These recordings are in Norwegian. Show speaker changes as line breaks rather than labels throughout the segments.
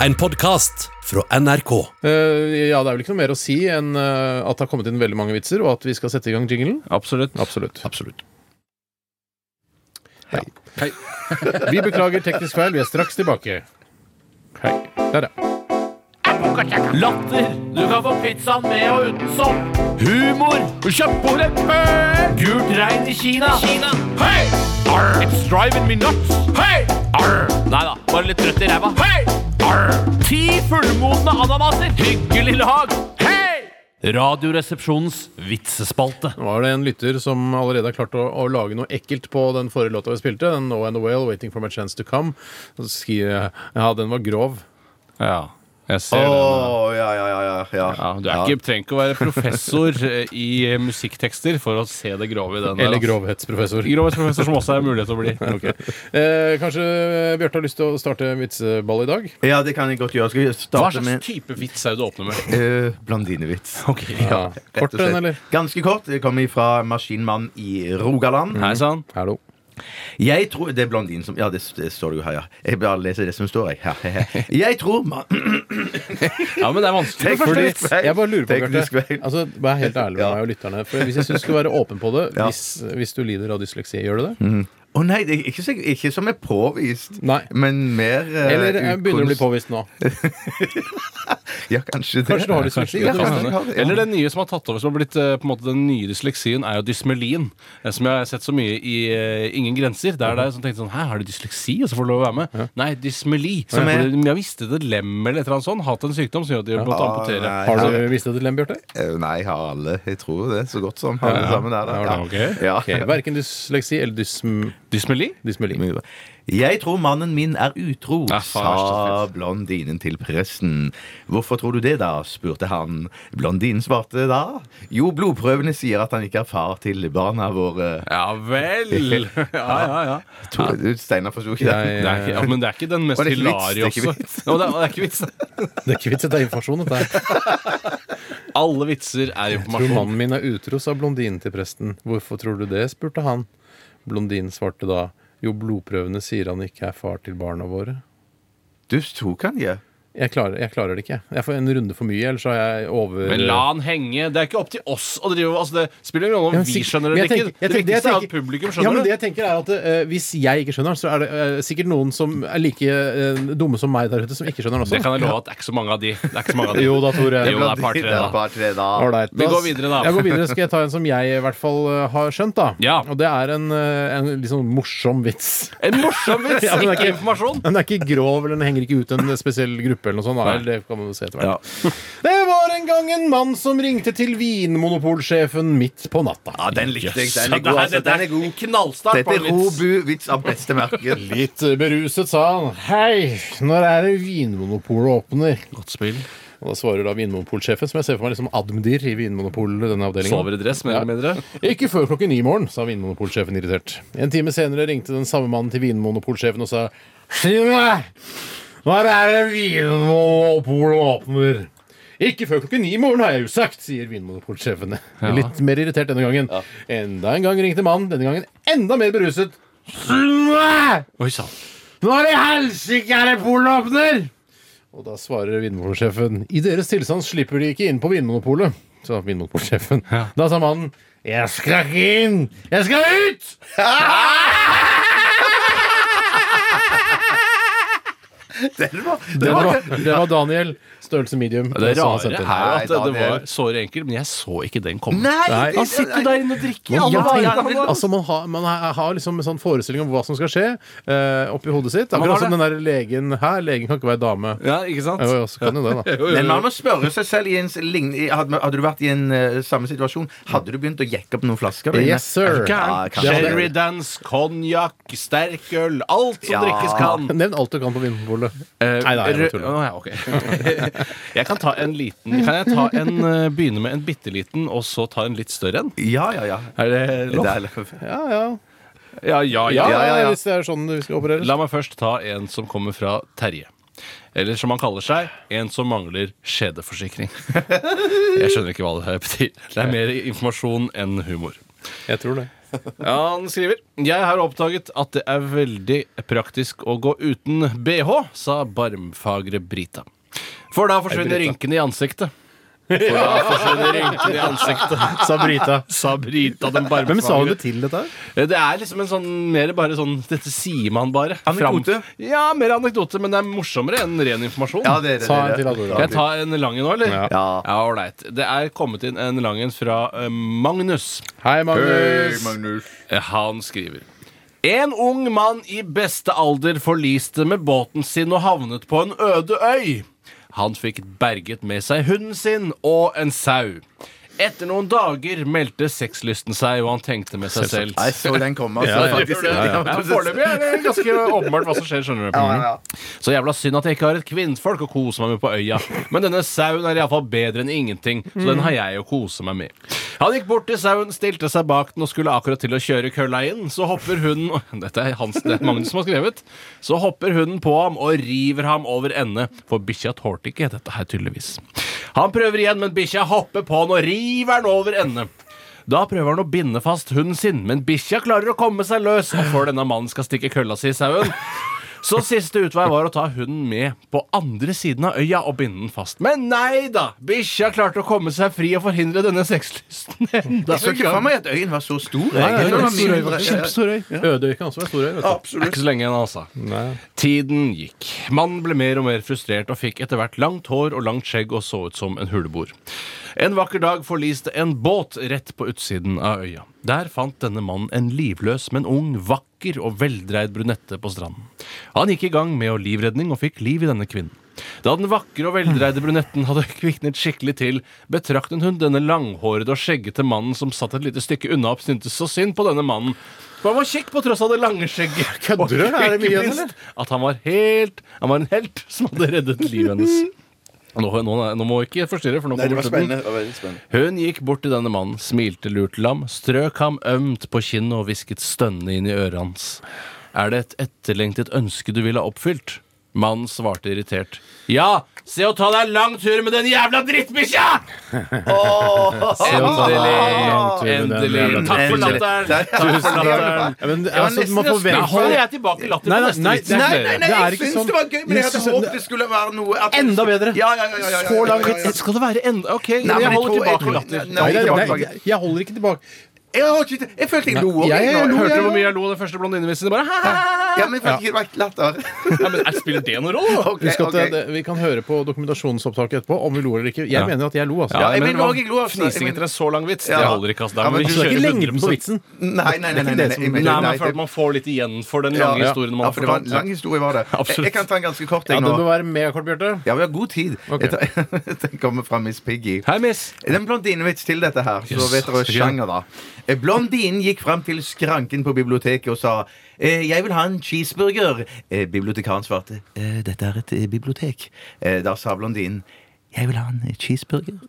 En podkast fra NRK.
Eh, ja, det er vel ikke noe mer å si enn eh, at det har kommet inn veldig mange vitser, og at vi skal sette i gang jinglen.
Absolutt.
Absolutt.
Absolutt.
Hei. Vi beklager teknisk feil, vi er straks tilbake. Hei. Der, ja.
Latter. Du kan få pizzaen med og uten sopp. Humor. Kjøpt på leppe. Gult regn i Kina. Kina. Hei! Arr. It's driving me nuts. Hei! Arr. Nei da, bare litt trøtt i ræva. Hei! Arr. Ti fullmodne ananaser. Hyggelig lag. Hei! Radioresepsjonens vitsespalte.
Nå var det en lytter som allerede har klart å, å lage noe ekkelt på den forrige låta vi spilte. Den No and the Whale, Waiting for my chance to come. Så skriver jeg Ja, den var grov.
Ja, jeg ser det.
Åh, ja, ja, ja, ja, ja.
Ja, du er ikke, trenger ikke å være professor eh, i eh, musikktekster for å se det grove i den.
Eller
der, altså.
grovhetsprofessor.
Grovhetsprofessor som også er mulighet til å bli.
Ok. Eh, kanskje Bjarte har lyst til å starte vitseball i dag?
ja, det kan jeg godt gjøre. Skal vi
Hva
starte med
slags type vits er det du åpner med?
uh, Blandinevits.
Ja.
Rett og
Kort en,
slett.
eller?
Ganske kort. Det kommer fra Maskinmann i Rogaland.
Hei sann.
Hallo.
Jeg tror Det er blondinen som Ja, det, det står det jo her, ja. Jeg bare leser det som står, jeg. Ja. Jeg tror man
Ja, men det er vanskelig.
Tenk
for
fordi-
vits.
Feil.
Jeg bare lurer på,
Teknisk
Bjarte.
feil.
Altså, vær helt ærlig med
Ja.
meg og lytterne. For hvis jeg syns du skal være åpen på det,
Ja. Mm.
hvis, hvis du lider av dysleksi, gjør du det?
Å nei, det er ikke, så, ikke som er påvist,
Nei.
men mer eh,
Eller eh, begynner det å bli
ukunst-
påvist nå?
Ja, kanskje det.
Kanskje du har sånn dysleksi?
Ja,
og du
kanskje
vet
jeg
det.
har det, ja.
Eller den nye som har tatt over, som har blitt eh, på en måte den nye dysleksien, er jo dysmelin. eh, Som jeg har sett så mye i eh, Ingen grenser. Der er det som tenkte sånn Hæ, har du dysleksi? Og så får du lov å være med. Nei, dysmeli. Som
er-
er Jeg visste det lem eller et eller annet sånt. Hatt en sykdom som gjør at de måtte
Ah,
amputere.
nei,
Har
ja.
du mistet et lem, Bjarte?
Eh, Nei, jeg har alle. Jeg tror det. Så godt som alle sammen er det.
Ja, ok.
Ja.
Okay. Verken dysleksi eller dysm...
Dysmeli?
Dysmeli.
Mye bra. Jeg tror mannen min er utro,
Ja, faen,
sa blondinen til presten. Hvorfor tror du det, da? spurte han. Blondinen svarte da. Jo, blodprøvene sier at han ikke er far til barna våre.
Ja vel. Ja, ja, ja.
To- Steinar forsto ikke
Jeg,
det.
Det er ikke, ja, men det er ikke den mest
Og det er ikke vits, det er
hilariøse.
ikke vits.
Nå, det, er, det er ikke vits.
det er ikke vits, det er informasjon. Dette her.
Alle vitser er
Tror
informasjon.
mannen min er utro, sa blondinen til presten. Hvorfor tror du det? spurte han. Blondinen svarte da. Jo, blodprøvene sier han ikke er far til barna våre.
Du tok han, ja.
Jeg klarer, jeg klarer det ikke. Jeg får en runde for mye, ellers så er jeg over
Men la han henge. Det er ikke opp til oss å drive altså Det spiller ingen rolle
Ja,
om
men
vi
sikk-
skjønner det
men jeg
eller
tenker-
ikke.
jeg
Det
tenker- jeg
viktigste er at
tenker-
publikum
Ja, men
skjønner
det
det.
jeg tenker er at eh, Hvis jeg ikke skjønner den, så er det eh, sikkert noen som er like eh, dumme som meg der ute, som ikke skjønner den også.
Det kan jeg love at det er ikke så mange av de. Det er ikke så mange av de.
Jo da, Tore.
Jo, det er par tre, da.
Par tre, da.
Ålreit.
Vi
Da-
går videre, da.
Jeg går videre, skal jeg ta en som jeg i hvert fall eh, har skjønt, da.
Ja.
Og det er en, eh, en litt sånn morsom vits.
En morsom vits,
Ja, men det er
ikke
ikke-
informasjon.
Den er ikke grov, eller den henger ikke ut en spesiell gruppe. eller noe sånt, da.
Nei.
Eller Det kan man jo se etter hvert. Det var en gang en mann som ringte til vinmonopolsjefen midt på natta.
Ja, den likte jeg.
Så
Den er god.
det
Altså.
er- det
Den
er
er god.
en knallstart
Dette
på
er
en vits.
Robu-vits av beste merke.
Litt beruset sa han Hei, når er det Vinmonopolet åpner?
Godt spill.
Og da svarer da Vinmonopolsjefen, som jeg ser for meg liksom admdir i Vinmonopolet. denne avdelingen
Sover i dress, mer eller mindre.
Ikke før klokken ni i morgen, sa Vinmonopolsjefen irritert. En time senere ringte den samme mannen til Vinmonopolsjefen og sa Si meg, når er det Vinmonopolet åpner? Ikke før klokken ni i morgen, har jeg jo sagt, sier Vinmonopolsjefen. Litt mer irritert denne gangen. Enda en gang ringte mannen, denne gangen enda mer beruset. Si meg!
Oi sann.
Når i helsike er det polet åpner? Og da svarer vinmonopolsjefen I deres tilstand slipper de ikke inn på Vinmonopolet. Sa vinmonopolsjefen. Da sa mannen Jeg skal ikke inn! Jeg skal ut!
Den var,
Det
den var,
var, det var Daniel. Størrelse medium.
Det
Det var sånn
rare
han sendte den.
er
Nei,
at det
Daniel.
var såre enkelt, men jeg så ikke den komme.
Nei!
Nei.
det-
Han sitter der inne og drikker. i
Man,
alle
man,
dager.
tenker, altså man, har, man har- har liksom en sånn forestilling om hva som skal skje, eh, oppi hodet sitt.
Man har
Akkurat som den der legen her. Legen kan ikke være dame.
Ja, ikke sant?
Jo, jo, så kan jo det, da.
Men man må spørre seg selv i en s- lign- i- Hadde hadde du vært i en eh, samme situasjon, hadde du begynt å jekke opp noen flasker? der inne?
Yes, sir.
Ja, kanskje.
Sherrydance, konjakk, sterkøl, alt som
Ja.
drikkes kan.
Nevn alt du kan på Vinmonopolet.
Eh,
Nei, nei, jeg bare
rø-
tuller.
Å, ja, ok. jeg kan ta en liten Kan jeg ta en, eh, begynne med en bitte liten, og så ta en litt større en?
Ja, ja, ja.
Er det lov?
Det er lov.
Ja, ja.
Ja, ja,
Ja, ja,
ja.
ja, ja.
Hvis det er sånn vi skal operere.
La meg først ta en som kommer fra Terje. Eller som han kaller seg, en som mangler skjedeforsikring. Jeg skjønner ikke hva det her betyr. Det er mer informasjon enn humor.
Jeg tror det.
Ja, han skriver Jeg har oppdaget at det er veldig praktisk å gå uten BH, sa barmfagre Brita. For da forsvinner rynkene i ansiktet. For da forsvinner rynkene i ansiktet,
Sa Brita.
sa Brita den barmfagre.
Hvem sa hun det til, dette her?
Det er liksom en sånn mer bare sånn Dette sier man bare.
Anekdote?
Fram- Ja, mer anekdote, men det er morsommere enn ren informasjon.
Ja, det er det.
Sa en
det er
til
det.
Adora.
Skal jeg ta en lang en nå, eller?
Ja.
Ja.
Ja, Ålreit. det er kommet inn en lang en fra eh, Magnus. Eh,
Hei, Magnus.
Hei, Magnus.
Han skriver En ung mann i beste alder forliste med båten sin og havnet på en øde øy. Han fikk berget med seg hunden sin og en sau. Etter noen dager meldte sexlysten seg, og han tenkte med seg selv
Jeg så den komme. Altså,
Ja,
faktisk.
ja, ja. Ja, Foreløpig er det ganske åpenbart hva som skjer. skjønner du Så jævla synd at jeg ikke har et kvinnfolk å kose meg med på øya. Men denne sauen er iallfall bedre enn ingenting, så den har jeg å kose meg med. Han gikk bort til sauen, stilte seg bak den og skulle akkurat til å kjøre kølla inn. Så hopper hunden Dette er Hans det er Magnus som har skrevet. Så hopper hunden på ham og river ham over ende, for bikkja tålte ikke dette her, tydeligvis. Han prøver igjen, men bikkja hopper på han og river han over ende. Da prøver han å binde fast hunden sin, men bikkja klarer å komme seg løs, og før denne mannen skal stikke kølla si i sauen så siste utvei var å ta hunden med på andre siden av øya og binde den fast. Men nei da! Bikkja klarte å komme seg fri og forhindre denne sexlysten enda
Jeg så
en
ikke for
gang.
meg at øyen var så stor.
Nei,
jeg.
nei,
Den var
nei,
mindre.
nei, Kjempestor øy. Ødøy kan også være stor øy. vet du.
Det er ikke så lenge igjen, altså. Tiden gikk. Mannen ble mer og mer frustrert og fikk etter hvert langt hår og langt skjegg og så ut som en huleboer. En vakker dag forliste en båt rett på utsiden av øya. Der fant denne mannen en livløs, men ung, vakker og veldreid brunette på stranden. Han gikk i gang med å livredning og fikk liv i denne kvinnen. Da den vakre og veldreide brunetten hadde kviknet skikkelig til, betraktet hun denne langhårede og skjeggete mannen som satt et lite stykke unna og syntes så synd på denne mannen. For han var kjekk på tross av det lange skjegget. Og
Kødder du? Er det mye
ikke
igjen,
minst At han var helt Han var en helt som hadde reddet livet hennes. Nå, nå, nå må jeg ikke forstyrre, for nå
Nei, det
kommer
var
slutten.
spennende. Det var veldig spennende.
Hun gikk bort til denne mannen, smilte lurt til ham, strøk ham ømt på kinnet og hvisket stønnende inn i øret hans. Er det et etterlengtet ønske du ville ha oppfylt? Mannen svarte irritert. Ja! Se å ta deg en lang tur med den jævla drittbikkja! Ah, Endelig!
en lang tur med den
Endelig.
jævla
Takk for
drittbikkja.
latteren. Takk for latteren.
Ja, men,
var
altså,
nesten
man
å
Da
forventer
holder jeg tilbake latter
Nei, nei,
på neste
nei,
vits. Det er
Nei,
flere.
nei, nei,
Det er
jeg
ikke
syns
sånn.
det var gøy, men jeg hadde
Jeg synes-
håpet det skulle være noe at-
Enda bedre.
Ja, ja, ja, ja, ja, ja,
Så lang
ja, ja, ja.
vits.
Skal det være enda Ok,
Nei, men
jeg
jeg
holder
tror- jeg
tilbake
tror-
latter.
Nei,
Nei,
jeg
nei,
holder tilbake.
nei, jeg holder ikke tilbake.
Jeg har ikke- Jeg følte jeg lo òg.
jeg- jeg lo,
Hørte
jeg-
du hvor mye jeg lo av den første blondinevitsen? Bare «Hæ, hæ, hæ, hæ».
Ja, men jeg fikk ikke vært latter.
Ja, men er- Spiller det noen rolle? da?
Ok,
Husk at
ok.
det- det, Vi kan høre på dokumentasjonsopptaket etterpå om vi lo eller ikke. Jeg
Ja.
mener at jeg lo. altså
Ja, jeg
men
mener
hva-
også jeg lo, altså.
Fnising
Jeg
etter en så lang vits,
Ja.
det holder ikke. Altså. Da
Ja,
må
men
vi
du
Det er ikke
kjøre
lengden på
100%.
vitsen.
Nei, nei, nei. nei, nei, jeg mener-
Nei, men
nei,
jeg føler at
det-
man får litt igjen for den
Ja,
lange
ja.
historien man
Ja,
har
for det var en
fortalt.
lang historie, var det.
Absolutt.
Jeg, jeg kan ta en ganske kort
Ja,
en
Den bør
nå.
være megakort, Bjarte.
Ja, vi har god tid.
Ok.
Jeg tar- Den kommer fra Miss Piggy.
Hei, miss.
Det er en blondinevits til dette her, så
Yes.
vet dere sjanger, da. Eh, Blondinen gikk fram til skranken på biblioteket og sa eh, 'Jeg vil ha en cheeseburger'. Eh, bibliotekaren svarte eh, 'Dette er et eh, bibliotek'. Eh, da sa blondinen 'Jeg vil ha en eh, cheeseburger'.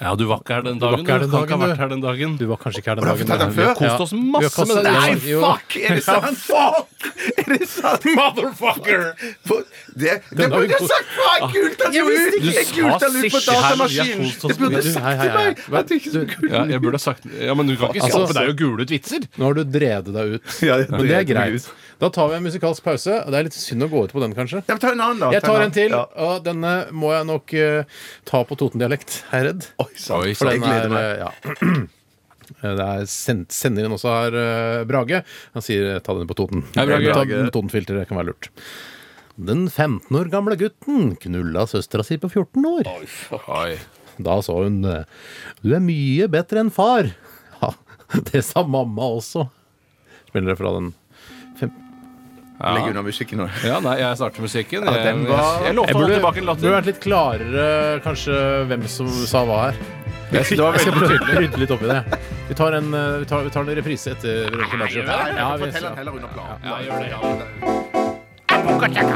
Ja, du var ikke her den
var
dagen.
ikke
Du,
her den
kan ikke
dagen,
ha vært
du.
her den dagen.
Du var kanskje ikke her den
Har du
dagen.
fortalt den
men-
før?
Vi har kost oss masse med det.
Nei,
Jo.
fuck! Er det sant? Fuck! Er det sant?
Motherfucker!
For- Det, det
Den var
burde jeg
jo- Ah.
sagt fra! Jeg gulte den
Jeg
jo
visste
ut!
ikke.
Jeg gulte den ut på
Du sa sikkert,
datamaskinen!
jeg koste oss
Jeg burde
med
det. sånn- Hei,
sagt
hei,
til
hei.
meg at jeg ikke skulle gulte
Ja, jeg burde ha sagt Ja, men du kan ikke
Altså,
skape deg å gule ut vitser.
Nå har du drevet deg ut.
Ja, jeg
Men det er
drev meg
greit. Da tar vi en musikalsk pause. Det er litt synd å gå ut på den, kanskje.
Ja, men Ta en annen, da.
Jeg
Ta
tar en til,
Ja.
og denne må jeg nok eh, ta på Toten-dialekt. Er jeg redd.
Oi sant.
Oi,
For
Jeg
den
gleder
er,
meg.
eh, ja. Det er send, senderen også her, eh, Brage. Han sier eh, ta den på Toten.
Hei, Brage.
Ta den på Totenfilteret kan være lurt. Den 15 år gamle gutten knulla søstera si på 14 år.
Oi.
Da sa hun eh, Du er mye bedre enn far. Ja, det sa mamma også. Spiller det fra den
Legg unna musikken nå.
Ja, nei, jeg starter musikken.
Ja,
Jeg,
den var-
jeg, jeg lovte å holde tilbake en
burde
latter.
vært litt klarere kanskje hvem som sa hva her.
Jeg synes det var
Jeg skal
veldig
prøve å
tydelig.
rydde litt opp i det. Vi tar en, eh, vi tar, vi tar en reprise etter Veronica Maggio. Ja, vi-
Fortell den heller under planen.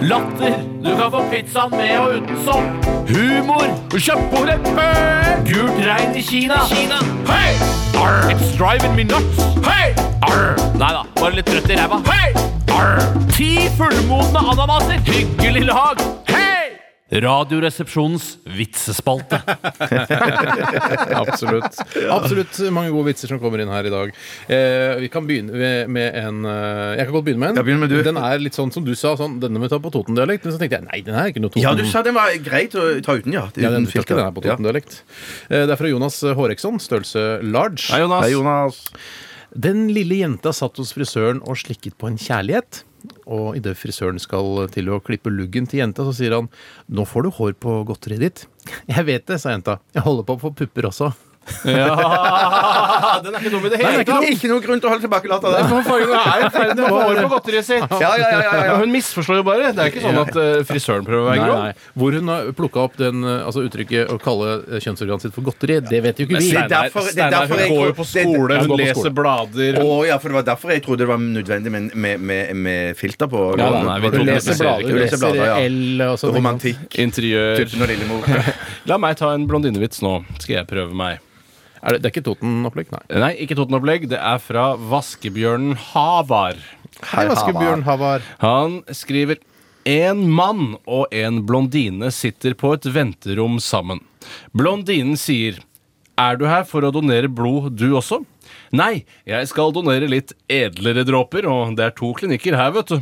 Latter. Du kan få pizzaen med og uten sopp. Humor. Kjøp på leppe. Gult regn i Kina. Kina. Hei! Arr. It's driving me nuts. Hei! Arr. Nei da, bare litt trøtt i ræva. Hei! Arr. Ti fullmodne ananaser. Hyggelig lag. Hei! Radioresepsjonens vitsespalte.
Absolutt. Absolutt mange gode vitser som kommer inn her i dag. Eh, vi kan begynne ved- med en eh, Jeg kan godt begynne med en.
Ja, begynn med du.
Den er litt sånn som du sa, sånn, denne må vi ta på Toten-dialekt. Men så tenkte jeg nei, den her er ikke noe Toten.
Ja, du sa den var greit å ta uten, ja.
ja, den,
Uten
du tar ikke den her på
Ja.
Toten-dialekt. Eh, det er fra Jonas Håreksson, størrelse large.
Hei, Jonas.
Hei, Jonas.
Den lille jenta satt hos frisøren og slikket på en kjærlighet. Og idet frisøren skal til å klippe luggen til jenta, så sier han 'Nå får du hår på godteriet ditt'. 'Jeg vet det', sa jenta. 'Jeg holder på å få pupper også'.
Ja, den er ikke dum i det hele tatt.
Ikke noe grunn til å holde tilbake latteren der.
Hun er i ferd med å få hår på godteriet sitt.
Ja, ja, ja, ja, ja.
Men Hun misforstår jo bare. Det er ikke sånn at eh, frisøren prøver å være grov.
Hvor hun har plukka opp den, eh, altså uttrykket å kalle eh, kjønnsorganet sitt for godteri, det vet jo ikke vi.
Det er derfor- det er
Steinar
derfor
hun
jeg-
går jo på skole,
det-
Hun går
hun
på
leser
skole.
blader.
Å ja, for det var derfor jeg trodde det var nødvendig med, med, med, med filter på.
Ja, nei, nei, vi
Hun leser
Romantiserer
blader,
ikke.
hun leser blader,
ja.
L og sånn.
Romantikk.
Interiør.
Tuppen og Lillemor.
La meg ta en blondinevits nå. Skal jeg prøve meg.
Er det, det er ikke Toten-opplegg, nei.
Nei, ikke Toten-opplegg. Det er fra Vaskebjørnen Havar.
Hei, Vaskebjørn Havar.
Han skriver en mann og en blondine sitter på et venterom sammen. Blondinen sier Er du her for å donere blod, du også? Nei, jeg skal donere litt edlere dråper, og det er to klinikker her, vet du.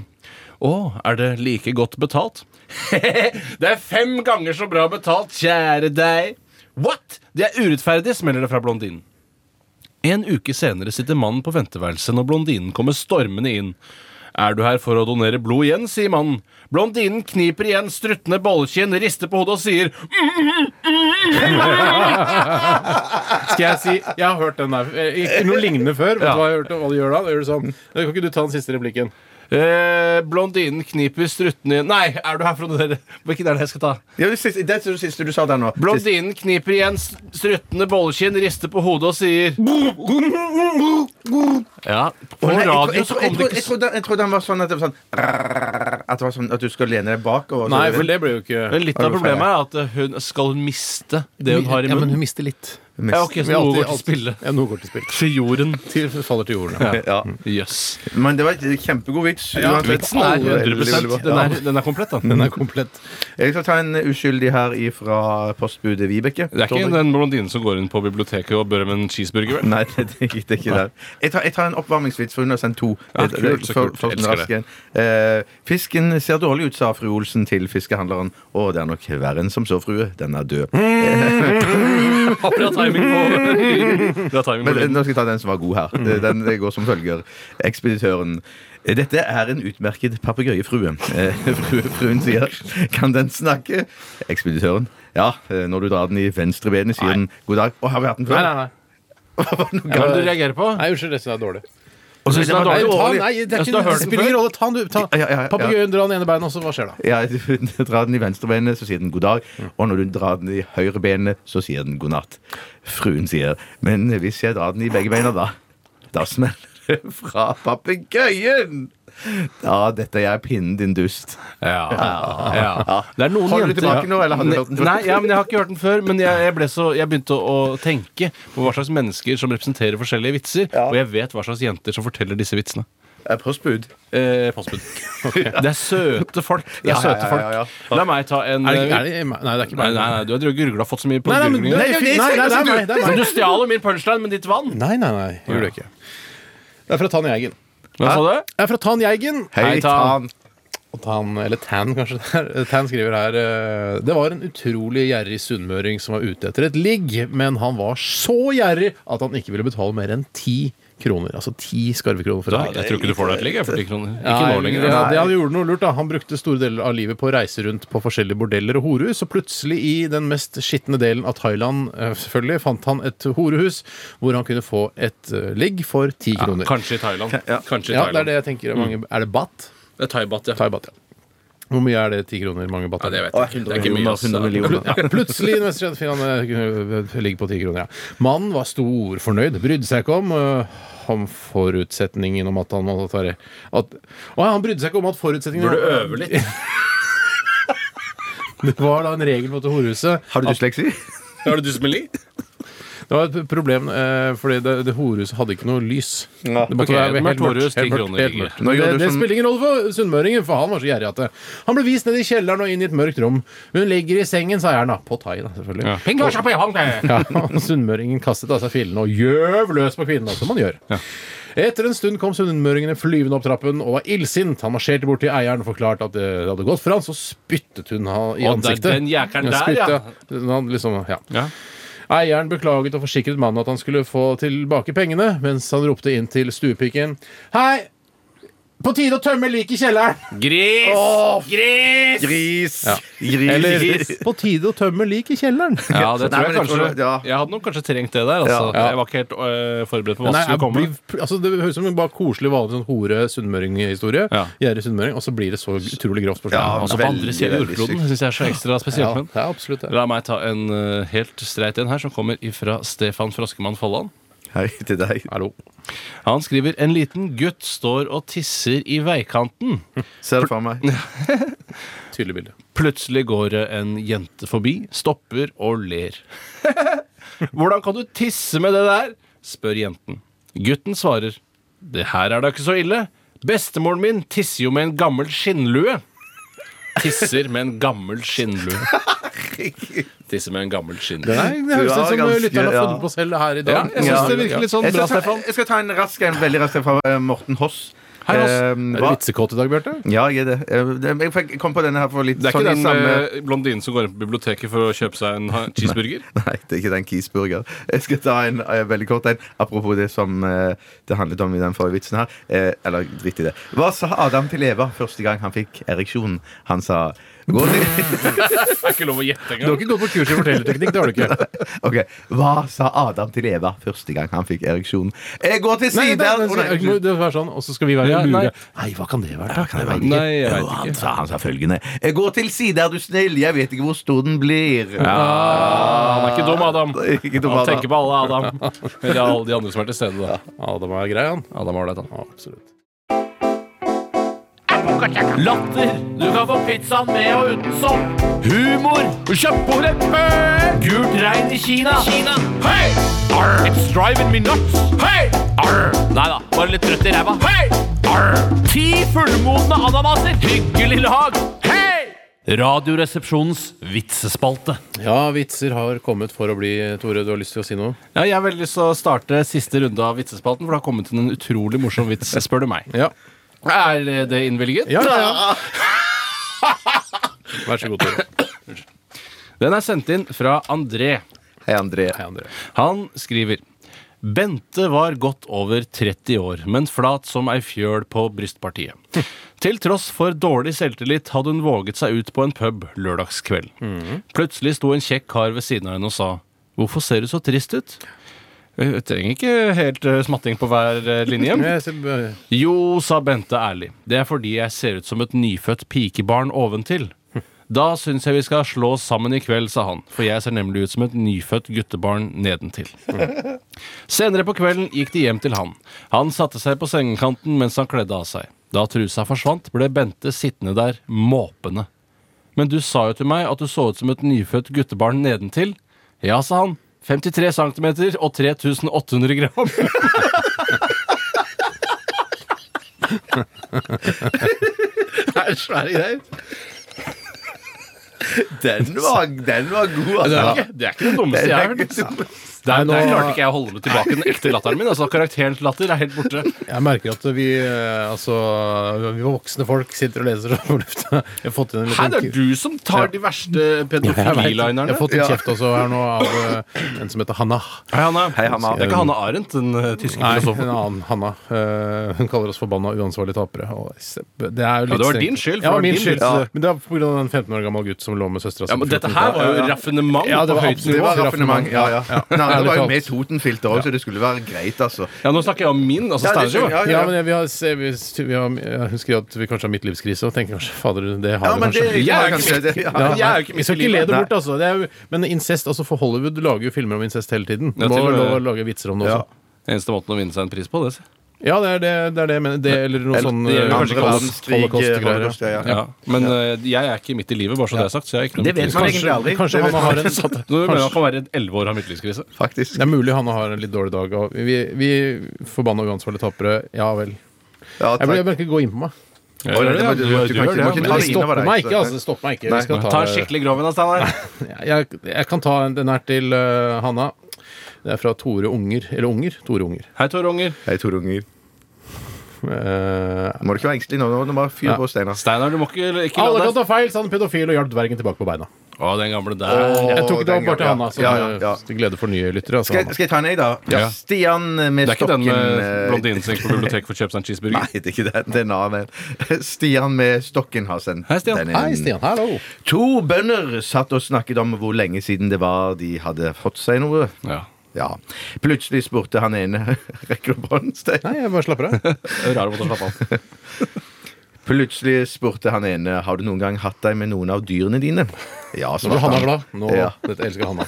Å, er det like godt betalt? det er fem ganger så bra betalt, kjære deg. What? Det er urettferdig, smeller det fra blondinen. En uke senere sitter mannen på venteværelset når blondinen kommer stormende inn. Er du her for å donere blod igjen, sier mannen. Blondinen kniper igjen struttende bollekinn, rister på hodet og sier
Skal jeg si Jeg har hørt den der. eh, Ikke noe lignende før. Vet du
Ja.
hva jeg hørte, hva de gjør da? Da Gjør du sånn. Kan ikke du ta den siste replikken?
eh, Blondinen kniper struttende Nei, er du her for å donere Hvilken er det jeg skal ta?
Ja, det, siste, det er det siste du sa der nå.
Blondinen kniper igjen s- struttende bollekinn, rister på hodet og sier Ja, på
Å, nei, jeg tror-
radio
jeg
så kom
tror- jeg
det
tror-
ikke
Jeg
så
trodde- jeg trodde han var sånn at det var sånn At det var sånn at du skal lene deg bakover. og så-
Nei, for det ble jo ikke
Men Litt av problemet er at eh, hun skal hun miste det hun har i
Ja, men hun
munnen.
mister litt.
Mest-
Ja, ok, så noe går til spille.
Ja, noe går til spill.
Til jorden.
Til, faller til jorden. Ja.
Ja.
Jøss. Yes.
Men det var et kjempegod vits. uansett.
Vitsen er
Veldig,
100
veldig bra.
Den er, den er komplett, da.
Den er komplett.
Jeg skal ta en uskyldig her fra postbudet Vibeke.
Det er ikke den blondinen som går inn på biblioteket og bør om en cheeseburger? vel?
Nei, det, det, det er ikke det. Jeg tar, jeg tar en oppvarmingsvits, for hun har sendt to.
Ja,
Det-
kult,
det-
så
for-
kult.
for den
Elsker
raske. Eh, fisken ser dårlig ut, sa fru Olsen til fiskehandleren. Å, det er nok verre enn som så, frue. Den er død.
Mm. Bra timing på, bra timing på
Men eh,
lyden.
nå skal jeg ta den som var god her.
Mm.
Eh, Den eh, går som følger. Ekspeditøren. Eh, Dette er en utmerket papegøyefrue. Eh, frue- Fruen sier 'Kan den snakke?' Ekspeditøren. Ja, eh, når du drar den i venstrebenet, sier den 'god dag'. Å, har vi hatt den før?
nei.
Hva er det du reagerer på?
Nei, Unnskyld, resten er dårlig.
Og så hvis den er
Nei,
dårlig-
ta, nei, det, er
Jeg skulle
ikke,
ha
det
hørt den
spiller
før.
ingen rolle. Ta den, du. Ta.
Ja, ja, ja.
Papegøyen drar den ene beinet, og så hva skjer da?
Ja, du drar den i venstrebeinet, så sier den 'god dag'. Og når du drar den i høyrebenet, så sier den 'god natt'. Fruen sier 'men hvis jeg drar den i begge beina, da'? Da smeller det fra papegøyen! Da detter jeg pinnen din dust.
Ja. ja. Det er noen
Har du
jenter
tilbake nå, eller hadde du hørt den før?
Nei, ja, men jeg har ikke hørt den før. Men jeg, jeg, ble så, jeg begynte å, å tenke på hva slags mennesker som representerer forskjellige vitser. Og jeg vet hva slags jenter som forteller disse vitsene.
Eh, Postbud.
Eh, postbud. Det er søte folk. Det er
Ja, ja,
søte
ja,
folk.
ja, ja.
La meg ta en
Er det,
eh,
ikke- er det, nei, det er ikke
Nei,
beinet.
nei, nei, du har gurgla fått så mye på
Nei, nei, men-
gurglingen.
nei, nei, nei, nei, det er meg, det er
Men
meg.
du stjal jo min punchline med ditt vann.
Nei, nei, nei. Jeg gjorde det ikke. Det er fra Tan Jeigen.
Hva sa du?
Det er fra Tan Jeigen.
Hei,
Hei,
Tan.
Tan.
Og Tan, eller Tan, kanskje. det er. Tan skriver her eh, Det var en utrolig gjerrig sunnmøring som var ute etter et ligg, men han var så gjerrig at han ikke ville betale mer enn ti kroner. Altså ti skarvekroner for
Da,
et ligg.
jeg tror ikke du får deg et ligg jeg, for 10 kroner. Ikke
Nei,
nå lenger.
det- det han gjorde noe lurt da Han brukte store deler av livet på å reise rundt på forskjellige bordeller og horehus, og plutselig i den mest skitne delen av Thailand eh, selvfølgelig fant han et horehus hvor han kunne få et eh, ligg for ti kroner.
Kanskje i Thailand. Kanskje i
Ja, det er
Thailand. Mm.
det jeg tenker. Mange, er det baht?
det er thaibat, ja.
Thaibaht, ja. Hvor mye er det ti kroner? Mange baht?
ja. Det vet jeg ikke. Det er ikke mye. altså. ass.
100 millioner.
Ja, plutselig i den mest skjønne finalen, eh, ligger på 10 kroner. Ja. Mannen var storfornøyd, brydde seg ikke om eh, om forutsetningen om at han måtte ta det at, Å, ja, Han brydde seg ikke om at forutsetningen
Burde øve litt.
Det var da en regel på dette horehuset.
Har du dysleksi?
Har du dysmeli?
Det var et problem, eh, fordi det, det horehuset hadde ikke noe lys.
Ja.
Det måtte
Ok,
være
et
helt
mørkt
mørkt.
horehus, ti
helt mørkt,
kroner
helt
ligger.
mørkt.
Nå
Men
gjør
Det,
du
det
som-
spiller ingen rolle for sunnmøringen, for han var så gjerrig at det. Han ble vist ned i kjelleren og inn i et mørkt rom. Hun ligger i sengen, sa jeg da. På thai, da, selvfølgelig.
eh.
Ja, og Sunnmøringen kastet av seg fillene og gjøv løs på kvinnen, da, som man gjør. Etter en stund kom sunnmøringene flyvende opp trappen og var illsint. Han marsjerte bort til eieren og forklarte at det hadde gått for han, så spyttet hun han i
Og det er
ansiktet.
den jækeren der, ja.
Spytte. Han liksom, ja.
Ja.
Eieren beklaget og forsikret mannen at han skulle få tilbake pengene, mens han ropte inn til stuepiken. Hei! På tide å tømme liket i kjelleren!
Gris! Gris!
Gris!
Eller
Gris!
på tide å tømme liket i kjelleren!
Ja, det tror jeg
Nei, men jeg
kanskje.
tror det- ja.
Jeg hadde nok kanskje trengt det der. Altså.
Ja.
Jeg var ikke helt øh, forberedt på hva
Nei,
som
jeg
skulle komme.
blir, altså det høres ut som en bare koselig, vanlig sånn hore sunnmøring-historie.
Ja.
Gjerrig sunnmøring, og så blir det så utrolig grovt på
Ja,
slutten.
Altså, på
Veldig,
andre siden av
veldig
jordkloden syns jeg er så
Ja,
ekstra spesielt. men-
det er absolutt det.
La meg ta en øh, helt streit en her, som kommer ifra Stefan Froskemann Folland.
Hei til deg.
Hallo.
Han skriver en liten gutt står og tisser i veikanten.
Ser du for meg?
Tydelig bilde.
Plutselig går det en jente forbi, stopper og ler. Hvordan kan du tisse med det der? spør jenten. Gutten svarer. Det her er da ikke så ille. Bestemoren min tisser jo med en gammel skinnlue. Tisser med en gammel skinnlue. Tisser med en gammel skinnlue.
Nei, det høres ut
Du er
som eh,
ganske-
lytterne har
ja.
funnet på selv her i
Ja,
dag.
jeg syns det virker litt sånn
Jeg
bra,
skal, ta,
Stefan.
jeg skal ta en rask en, veldig rask en fra eh, Morten Hoss.
Hei, Hoss.
Eh,
Er
hva?
du vitsekåt i dag, Bjarte?
Ja, jeg er det. Eh, det- Jeg fikk- kom på denne her for litt
Det er
sånn
ikke
i
den
samme
eh, blondinen som går inn på biblioteket for å kjøpe seg en ha- cheeseburger?
Nei, det er ikke den Kiesburger. Jeg skal ta en eh, veldig kort en. Apropos det som eh, det handlet om i den forrige vitsen her. Eh, eller dritt i det. Hva sa Adam til Eva første gang han fikk ereksjon? Han sa Gå til
Det er ikke lov å gjette
Du har
engang.
ikke gått på kurs i fortellerteknikk, det har du ikke.
Ok, Hva sa Adam til Eva første gang han fikk ereksjon? Jeg går til
Nei, det,
siden!
det, det, må- det må være sånn, og så skal vi være
Ja, nei.
lure. Nei, hva kan det være? da?
Jeg vet ikke.
Nei, jeg vet
Jo, han,
ikke.
sa, han sa følgende Jeg går til side, er du snill? Jeg vet ikke hvor stor den blir.
Ah, han er ikke dum, Adam.
Ikke dum,
Han
Adam.
tenker på alle Adam. Eller alle de andre som er til stede. da
Adam er grei, han.
Adam var ålreit, han.
Ja, absolutt.
Latter. Du kan få pizzaen med og uten sopp. Humor. Kjøttbordleppe. Gult regn i Kina. Kina. Hei! Arr. It's driving me nuts. Hei! Arr. Nei da, bare litt trøtt i ræva. Hei! Arr. Ti fullmodne ananaser. Hyggelig lag. Hei! Radioresepsjonens vitsespalte.
Ja, vitser har kommet for å bli. Tore, du har lyst til å si noe?
Ja, jeg har veldig lyst til å starte siste runde av vitsespalten, for det har kommet inn en utrolig morsom vits, spør du meg.
Ja.
Er det innvilget?
Ja, ja, ja. Vær så god, Tore.
Den er sendt inn fra André.
Hei, André.
Hei, André.
Han skriver Bente var godt over 30 år, men flat som ei fjøl på brystpartiet. Til tross for dårlig selvtillit hadde hun våget seg ut på en pub lørdagskveld. Plutselig sto en kjekk kar ved siden av henne og sa Hvorfor ser du så trist ut? Jeg trenger ikke helt eh, smatting på hver eh, linje.
Jeg ser- eh,
Jo, sa Bente ærlig. Det er fordi jeg ser ut som et nyfødt pikebarn oventil. Da syns jeg vi skal slå oss sammen i kveld, sa han, for jeg ser nemlig ut som et nyfødt guttebarn nedentil. Senere på kvelden gikk de hjem til han. Han satte seg på sengekanten mens han kledde av seg. Da trusa forsvant, ble Bente sittende der måpende. Men du sa jo til meg at du så ut som et nyfødt guttebarn nedentil. Ja, sa han. 53 cm og 3800 gram.
Det er svære greier. Den var, den var god,
Det er
altså.
ikke det, er ikke det dummeste jeg har hørt. Der, der klarte ikke jeg å holde meg tilbake den ekte latteren min. Altså Karakteren til latter er helt borte.
Jeg merker at vi eh, altså, vi voksne folk sitter og leser om lufta. Jeg har fått inn en
Her, det er
liten
du som tar de verste
Jeg vet. Jeg
pedofililinerne.
har fått en kjeft også her nå av eh, en som heter Hanna.
Hei, Hanna.
Hei, Hanna.
Det er ikke Hanne Arendt, den eh, tyske
Nei, en
filosofen.
annen Hanna. Eh, hun kaller oss forbanna uansvarlige tapere. Og se- Det er jo litt
det var
strengt.
din skyld, for
Ja,
det var
min
din
skyld.
skyld.
så- Men det er pga. en 15 år gammel gutt som lå med søstera
Ja, men dette her var jo raffinement
Ja, det
på
var
høyt
absolutt-
Det
nivå.
var raffinement. Ja, ja. Nei, det var jo med Totenfilter òg, så det skulle være greit, altså.
Ja, nå snakker jeg om min, altså
Ja, det
Steinar.
skjønner jeg.
jo.
ja, men jeg- vi har, se- vi, vi har, jeg husker at vi kanskje har midtlivskrise, og tenker kanskje fader, det har
Ja,
vi
men
kanskje.
det
Jeg er
kanskje
ikke-
det. Ja.
Ja,
Jeg er jo ikke
vi skal
midt i
ikke le
livet.
det bort, altså. Det er, jo- men incest, altså for Hollywood lager jo filmer om incest hele tiden.
Ja,
Må
til og med-
lov å lage vitser om det også.
Eneste måten å vinne seg en pris på, det.
Ja, det er det, det, er det jeg mener. Det, eller noe
Eller-
sånn
det
eh,
gjelder kanskje ikke alle
holocaust-
verdenskrig,
holocaust-greier, ja.
holocaust, ja, ja.
eh, Ja. Men eh, jeg er ikke midt i livet, bare så det er sagt. Så jeg er ikke noe
Det vet man
midtlivskrise.
egentlig aldri.
Kanskje
Det
han
vet man
har en
aldri.
satt
Nå mener jeg han kan være elleve år og ha midtlivskrise.
Faktisk.
Det er mulig Hanne har en litt dårlig dag. Og vi vi forbanna uansvarlige tapere. Ja vel.
Ja,
Jeg bør
takk.
bare ikke gå inn på meg.
Ja,
Oi, det var- du- du kan ikke- du må
Men
ikke ta
det
det inn over
stopper
deg,
meg ikke.
så-
altså, det stopper meg ikke.
Nei.
Vi skal ta,
Ta en skikkelig grov en, da, Steinar.
jeg, jeg kan ta en, den her til eh, Hanna. Det er fra Tore Unger. Eller Unger. Tore Unger.
Hei, Tore Unger.
Hei, Tore Unger.
Eh,
Må du ikke være engstelig nå. Nå nå bare fyr
Ja.
på, Steinar.
Steinar, du må ikke, ikke
alle
la
kan
deg
ta feil, sa han pedofil og hjalp dvergen tilbake på beina.
Å, den gamle der.
Jeg tok det
den
bare til
gangen,
Hanna, så
ja, ja, ja.
til glede for nye lyttere. Altså,
Skal, jeg-
Hanna.
skal jeg ta en, jeg, da?
Ja.
Stian
Det
med
er ikke den
stokken
med
eh,
blondinen som gikk på biblioteket for å kjøpe seg en
Nei,
cheeseburger.
det er ikke den. Det er en annen. Stian med stokken har sendt
Hei, Stian.
den inn.
Hei, Stian. Hallo.
To bønder satt og snakket om hvor lenge siden det var de hadde fått seg noe.
Ja.
Ja. Plutselig spurte han ene Rekker du bånd, Stein?
Nei, jeg bare slapper av.
Rar måte å slappe av.
Plutselig spurte han ene Har du noen gang hatt deg med noen av dyrene dine. Ja,
Nå blir
svarte
Hanna
han.
glad. Nå,
Ja.
Dette elsker Hanna.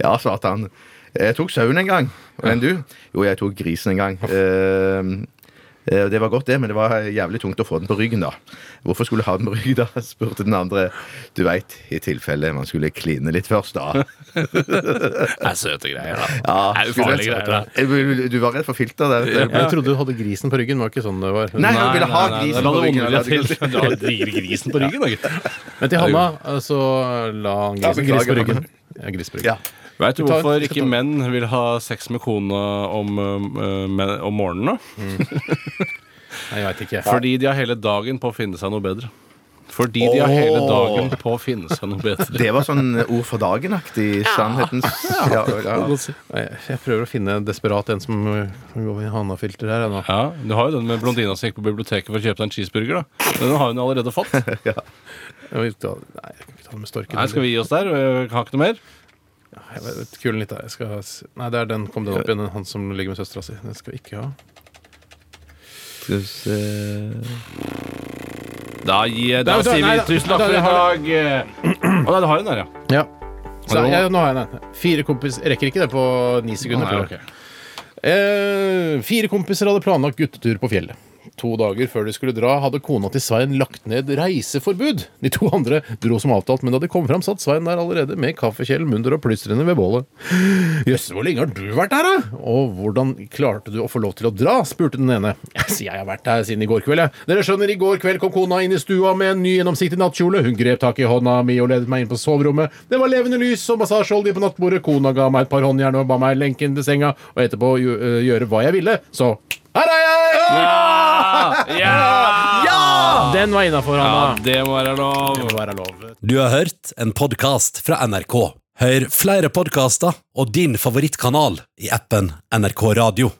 Ja, svarte han. Jeg tok sauen en gang. Enn du? Jo, jeg tok grisen en gang. Eh, eh, det var godt, det, men det var jævlig tungt å få den på ryggen, da. Hvorfor skulle jeg ha den på ryggen, da? spurte den andre. Du veit, i tilfelle man skulle kline litt først, da.
Det er søte greier, da.
Ja,
Det er ufarlige
skulle jeg-
greier,
Eh, Du var redd for filter der.
Men jeg trodde du hadde grisen på ryggen. Det var ikke sånn det var.
Nei, han ville ha
nei, nei,
grisen
la
på
det
ryggen.
onde
eller?
til. Du har digergrisen på ryggen, da, gitt.
Men til Hanna eh, så la han
Ja,
grisen,
beklager,
gris på ryggen.
Hanna.
Ja, gris på ryggen.
Ja.
Veit du
tar-
hvorfor
vi skal
ikke
ta-
menn vil ha sex med kona om, eh, men- om morgenen? da?
Nei, jeg veit ikke.
Fordi de har hele dagen på å finne seg noe bedre. Fordi de har hele dagen på å finne seg noe bedre.
Det var sånn ord for dagen-aktig. Sannhetens ja, ja.
Nei, Jeg prøver å finne en desperat en som eh, kan gå i Hanna-filter her. jeg, Nå.
Ja, Du har jo den med blondina som gikk på biblioteket for å kjøpe seg en cheeseburger. da Den har hun allerede fått. Nei,
Jeg vil ta- Nei, jeg kan ikke ta den med storken.
Skal vi gi oss der? Jeg Har ikke noe mer?
Jeg vet, kul den litt der. Jeg skal... s- Nei, det er den. Kom den opp igjen. Han som ligger med søstera si. Den skal vi ikke ha.
Da, gir, da
Nei, da-
sier
nei,
vi
da-
tusen takk
da-
for i
jeg har
dag. Å nei, du har den der, ja.
Ja. Så,
Hallo?
jeg, nå har jeg den. Fire kompis jeg Rekker ikke det på ni sekunder.
Nei,
tror jeg. eh, fire kompiser hadde planlagt guttetur på fjellet. To dager før de skulle dra, hadde kona til Svein lagt ned reiseforbud. De to andre dro som avtalt, men da de kom fram, satt Svein der allerede med kaffekjelen munter og plystrende ved bålet. Jøss, hvor lenge har du vært her, da? Og hvordan klarte du å få lov til å dra? spurte den ene. «Yes, Jeg har vært her siden i går kveld, jeg. Dere skjønner, i går kveld kom kona inn i stua med en ny gjennomsiktig nattkjole. Hun grep tak i hånda mi og ledet meg inn på soverommet. Det var levende lys og massasjeolje på nattbordet. Kona ga meg et par håndjern og ba meg lenke inn til senga, og etterpå gjø- øh, gjøre hva jeg ville. Så her er jeg!
ok. Ja!
Den var innafor,
ja!
Hanna.
Det må være lov.
Må være lov.
Du har hørt en podcast fra NRK. Hør flere podcaster og din favorittkanal i appen NRK Radio.